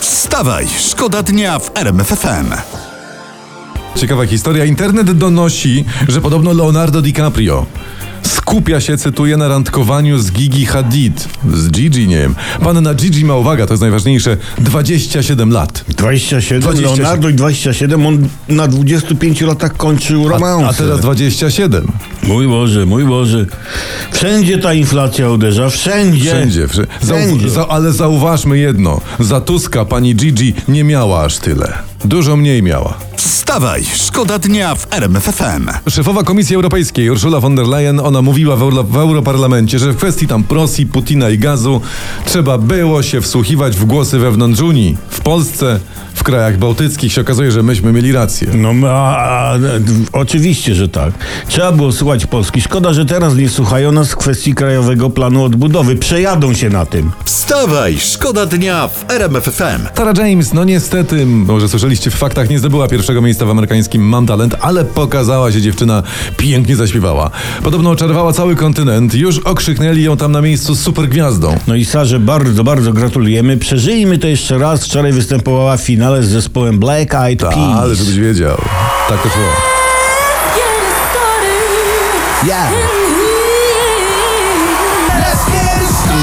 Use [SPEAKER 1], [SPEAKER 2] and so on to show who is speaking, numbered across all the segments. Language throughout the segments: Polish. [SPEAKER 1] Wstawaj, szkoda dnia w RMFFM.
[SPEAKER 2] Ciekawa historia. Internet donosi, że podobno Leonardo DiCaprio skupia się, cytuję, na randkowaniu z Gigi Hadid. Z Gigi, nie wiem. Panna Gigi ma, uwaga, to jest najważniejsze, 27 lat.
[SPEAKER 3] 27,
[SPEAKER 2] 27.
[SPEAKER 3] Leonardo i 27, on na 25 latach kończył romans.
[SPEAKER 2] A teraz 27.
[SPEAKER 3] Mój Boże, mój Boże. Wszędzie ta inflacja uderza, wszędzie.
[SPEAKER 2] Wszędzie. wszędzie. Zau-
[SPEAKER 3] Wszędzie.
[SPEAKER 2] za- ale zauważmy jedno. Za Tuska pani Gigi nie miała aż tyle. Dużo mniej miała.
[SPEAKER 1] Wstawaj, szkoda dnia w RMFFM.
[SPEAKER 2] Szefowa Komisji Europejskiej Ursula von der Leyen, ona mówiła w, Euro, w Europarlamencie, że w kwestii tam Rosji, Putina i gazu trzeba było się wsłuchiwać w głosy wewnątrz Unii. W Polsce, w krajach bałtyckich się okazuje, że myśmy mieli rację.
[SPEAKER 3] No, a, a, a, d- oczywiście, że tak. Trzeba było słuchać Polski. Szkoda, że teraz nie słuchają nas w kwestii Krajowego Planu Odbudowy. Przejadą się na tym.
[SPEAKER 1] Wstawaj, szkoda dnia w RMFFM.
[SPEAKER 2] Tara James, no niestety, może słyszeliście w faktach, nie zdobyła pierwszego miejsca w amerykańskim Mam Talent, ale pokazała się dziewczyna, pięknie zaśpiewała. Podobno oczarowała cały kontynent, już okrzyknęli ją tam na miejscu z supergwiazdą.
[SPEAKER 3] No i Sarze bardzo, bardzo gratulujemy. Przeżyjmy to jeszcze raz. Wczoraj występowała w finale z zespołem Black Eyed
[SPEAKER 2] Ta,
[SPEAKER 3] Peas.
[SPEAKER 2] Tak, ale żebyś wiedział, tak to szło.
[SPEAKER 4] Get it started.
[SPEAKER 3] Yeah.
[SPEAKER 4] In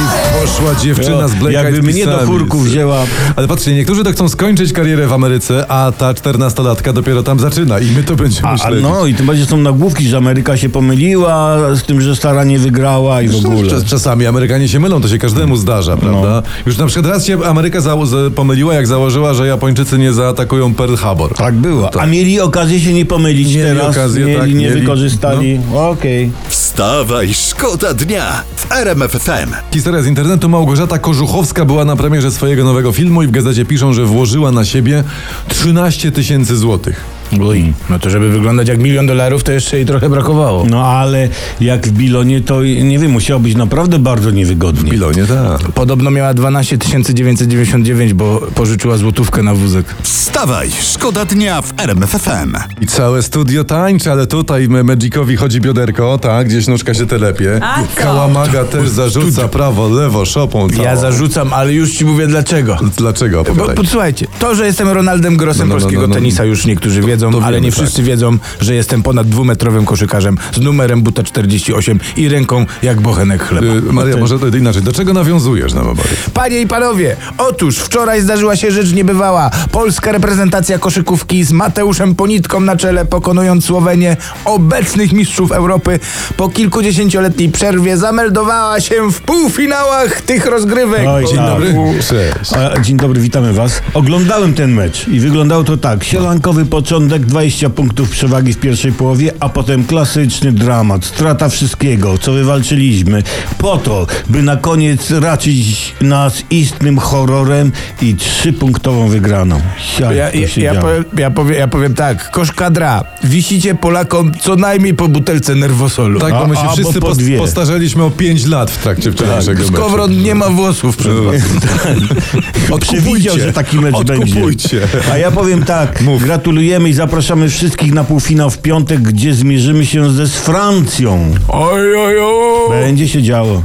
[SPEAKER 4] here.
[SPEAKER 2] Poszła dziewczyna z Black
[SPEAKER 3] Jakby
[SPEAKER 2] Eyed
[SPEAKER 3] mnie do
[SPEAKER 2] Peasami.
[SPEAKER 3] chórku wzięła.
[SPEAKER 2] Ale patrzcie, niektórzy to chcą skończyć karierę w Ameryce, a ta 14-latka dopiero tam zaczyna i my to będziemy
[SPEAKER 3] A,
[SPEAKER 2] śledzić.
[SPEAKER 3] no i tym bardziej są nagłówki, że Ameryka się pomyliła z tym, że stara nie wygrała i w ogóle. No.
[SPEAKER 2] Czas- Czasami Amerykanie się mylą, to się każdemu zdarza, prawda? Już na przykład raz się Ameryka zało- z- pomyliła, jak założyła, że Japończycy nie zaatakują Pearl Harbor.
[SPEAKER 3] Tak było. A mieli okazję się nie pomylić
[SPEAKER 2] Mieli
[SPEAKER 3] teraz.
[SPEAKER 2] okazję,
[SPEAKER 3] mieli,
[SPEAKER 2] tak,
[SPEAKER 3] nie
[SPEAKER 2] mieli. No.
[SPEAKER 3] wykorzystali. Okej.
[SPEAKER 1] Wstawaj, szkoda dnia w RMFFM.
[SPEAKER 2] Historia z internetu. Małgorzata Kożuchowska była na premierze swojego nowego filmu i w gazecie piszą, że włożyła na siebie 13 tysięcy złotych.
[SPEAKER 5] Oj, no to żeby wyglądać jak milion dolarów, to jeszcze jej trochę brakowało.
[SPEAKER 3] No ale jak w Bilonie, to nie wiem, musiało być naprawdę bardzo niewygodnie.
[SPEAKER 2] Pilonie, tak.
[SPEAKER 5] Podobno miała 12 999, bo pożyczyła złotówkę na wózek.
[SPEAKER 1] Wstawaj, szkoda dnia w RMFFM.
[SPEAKER 2] I całe studio tańczy, ale tutaj me- Magicowi chodzi bioderko, tak, gdzieś nóżka się telepie.
[SPEAKER 4] A co?
[SPEAKER 2] Kałamaga też zarzuca prawo, lewo, szopą. Całą.
[SPEAKER 5] Ja zarzucam, ale już ci mówię dlaczego.
[SPEAKER 2] Dlaczego?
[SPEAKER 5] Bo,
[SPEAKER 2] Opowiadaj.
[SPEAKER 5] posłuchajcie, to, że jestem Ronaldem Grossem
[SPEAKER 2] No, no, no,
[SPEAKER 5] polskiego
[SPEAKER 2] no, no.
[SPEAKER 5] tenisa, już niektórzy wiedzą,
[SPEAKER 2] to
[SPEAKER 5] ale
[SPEAKER 2] wiemy, tak.
[SPEAKER 5] nie wszyscy wiedzą, że jestem ponad dwumetrowym koszykarzem z numerem buta 48 i ręką jak bochenek chleba.
[SPEAKER 2] Y, Maria, może to inaczej. Do czego nawiązujesz no nam obawy?
[SPEAKER 5] Panie i panowie, otóż wczoraj zdarzyła się rzecz niebywała. Polska reprezentacja koszykówki z Mateuszem Ponitką na czele, pokonując Słowenię, obecnych mistrzów Europy, po kilkudziesięcioletniej przerwie zameldowała się w półfinałach tych rozgrywek.
[SPEAKER 3] Oj,
[SPEAKER 2] Dzień
[SPEAKER 3] tak.
[SPEAKER 2] dobry. Cześć.
[SPEAKER 3] A, dzień dobry, witamy was. Oglądałem ten mecz i wyglądało to tak. Sielankowy początek, 20 punktów przewagi w pierwszej połowie, a potem klasyczny dramat, strata wszystkiego, co wywalczyliśmy, po to, by na koniec raczyć nas istnym horrorem i trzypunktową wygraną. Jak
[SPEAKER 5] Ja,
[SPEAKER 3] to
[SPEAKER 5] ja,
[SPEAKER 3] się
[SPEAKER 5] ja,
[SPEAKER 3] działo?
[SPEAKER 5] powiem, ja, powiem, ja powiem tak, koszkadra, wisicie Polakom co najmniej po butelce nerwosolu. No,
[SPEAKER 2] Tak, bo my się
[SPEAKER 3] A-
[SPEAKER 2] wszyscy
[SPEAKER 3] albo po
[SPEAKER 2] post-
[SPEAKER 3] dwie.
[SPEAKER 2] postarzeliśmy o 5 lat w trakcie wczorajszego meczu.
[SPEAKER 3] tak.
[SPEAKER 5] Skowron nie ma włosów przed
[SPEAKER 3] No.
[SPEAKER 5] was.
[SPEAKER 3] Przewidział,
[SPEAKER 5] tak
[SPEAKER 3] że taki mecz
[SPEAKER 2] Odkupujcie.
[SPEAKER 3] będzie. A ja powiem tak, gratulujemy i zapraszamy wszystkich na półfinał w piątek, gdzie zmierzymy się ze z Francją.
[SPEAKER 5] Oj, oj, oj.
[SPEAKER 3] Będzie się działo.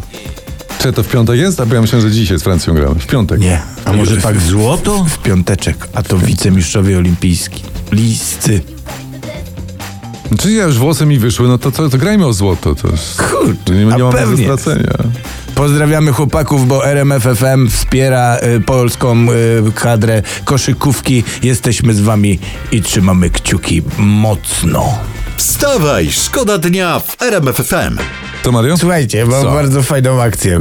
[SPEAKER 2] Czy to w piątek jest? A bo ja myślałem, że dzisiaj z Francją gramy. W piątek.
[SPEAKER 5] Nie.
[SPEAKER 3] A może tak złoto?
[SPEAKER 5] W piąteczek, a to wicemistrzowie olimpijski. Listy.
[SPEAKER 2] Czy ja już włosy mi wyszły, no to, to, to grajmy o złoto. To jest-
[SPEAKER 5] Kurde,
[SPEAKER 2] nie, nie
[SPEAKER 5] a
[SPEAKER 2] mamy
[SPEAKER 5] pewnie.
[SPEAKER 2] do stracenia.
[SPEAKER 5] Pozdrawiamy chłopaków, bo RMFFM wspiera y, polską y, kadrę koszykówki. Jesteśmy z wami i trzymamy kciuki mocno.
[SPEAKER 1] Wstawaj, szkoda dnia w RMFFM.
[SPEAKER 2] To Mario?
[SPEAKER 5] Słuchajcie, mam
[SPEAKER 2] Co?
[SPEAKER 5] bardzo fajną akcję.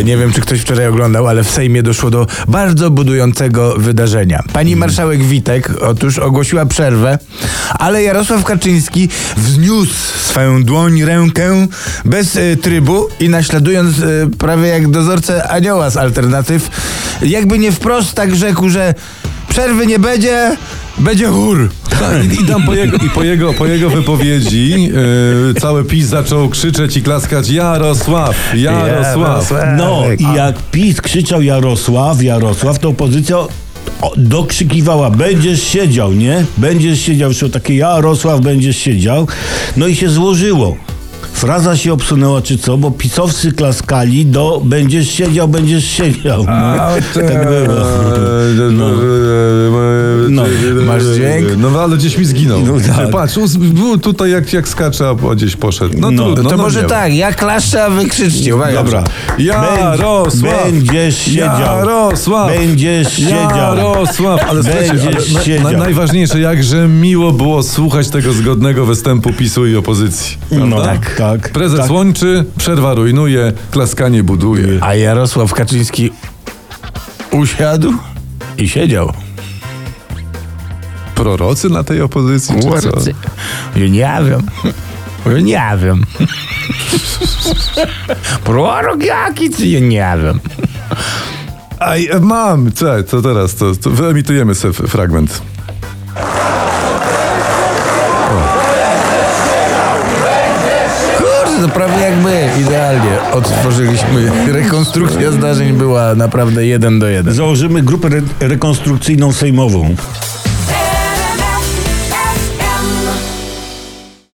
[SPEAKER 5] E, nie wiem, czy ktoś wczoraj oglądał, ale w Sejmie doszło do bardzo budującego wydarzenia. Pani
[SPEAKER 2] Mhm.
[SPEAKER 5] marszałek Witek otóż ogłosiła przerwę, ale Jarosław Kaczyński wzniósł swoją dłoń, rękę bez e, trybu i naśladując e, prawie jak dozorcę anioła z alternatyw, jakby nie wprost tak rzekł, że przerwy nie będzie, będzie chór.
[SPEAKER 2] Tak,
[SPEAKER 5] No
[SPEAKER 2] I, i tam po jego, i po jego, po jego wypowiedzi yy, cały PiS zaczął krzyczeć i klaskać Jarosław, Jarosław.
[SPEAKER 3] No
[SPEAKER 5] Tak.
[SPEAKER 3] i jak PiS krzyczał Jarosław, Jarosław, to opozycja o- dokrzykiwała, będziesz siedział, nie? Będziesz siedział, szło takie Jarosław, będziesz siedział. No i się złożyło. fraza się obsunęła czy co, bo pisowcy klaskali do będziesz siedział, będziesz siedział. tak było.
[SPEAKER 2] No.
[SPEAKER 3] No.
[SPEAKER 5] Masz dźwięk?
[SPEAKER 2] No ale gdzieś mi zginął.
[SPEAKER 3] No, tak.
[SPEAKER 2] Patrz, us- był tutaj jak, jak skacze, a gdzieś poszedł. No,
[SPEAKER 3] No.
[SPEAKER 2] trudno,
[SPEAKER 5] to
[SPEAKER 2] no
[SPEAKER 5] może
[SPEAKER 2] nie.
[SPEAKER 5] tak, ja klaszę, a wy krzyczcie. Uwaga.
[SPEAKER 3] Dobra.
[SPEAKER 2] Tak. Jarosław!
[SPEAKER 3] Będziesz siedział.
[SPEAKER 2] Jarosław!
[SPEAKER 3] Będziesz siedział.
[SPEAKER 2] Jarosław! Ale słuchajcie,
[SPEAKER 3] Będziesz
[SPEAKER 2] ale na,
[SPEAKER 3] siedział.
[SPEAKER 2] na, najważniejsze, jakże miło było słuchać tego zgodnego występu PiSu i opozycji.
[SPEAKER 3] No,
[SPEAKER 2] prawda?
[SPEAKER 3] tak, tak.
[SPEAKER 2] Prezes łączy, przerwa rujnuje, klaskanie buduje.
[SPEAKER 5] A Jarosław Kaczyński usiadł i siedział.
[SPEAKER 2] Prorocy na tej opozycji, czy co?
[SPEAKER 5] Ja nie wiem. Ja nie wiem. Prorok jaki ty? Ja nie wiem.
[SPEAKER 2] A ja e, mam, co, to teraz, to, to wyemitujemy sobie f- fragment.
[SPEAKER 5] Kurde, to prawie jak my. Idealnie odtworzyliśmy. Rekonstrukcja zdarzeń była naprawdę jeden do jeden.
[SPEAKER 3] Założymy grupę re- rekonstrukcyjną sejmową.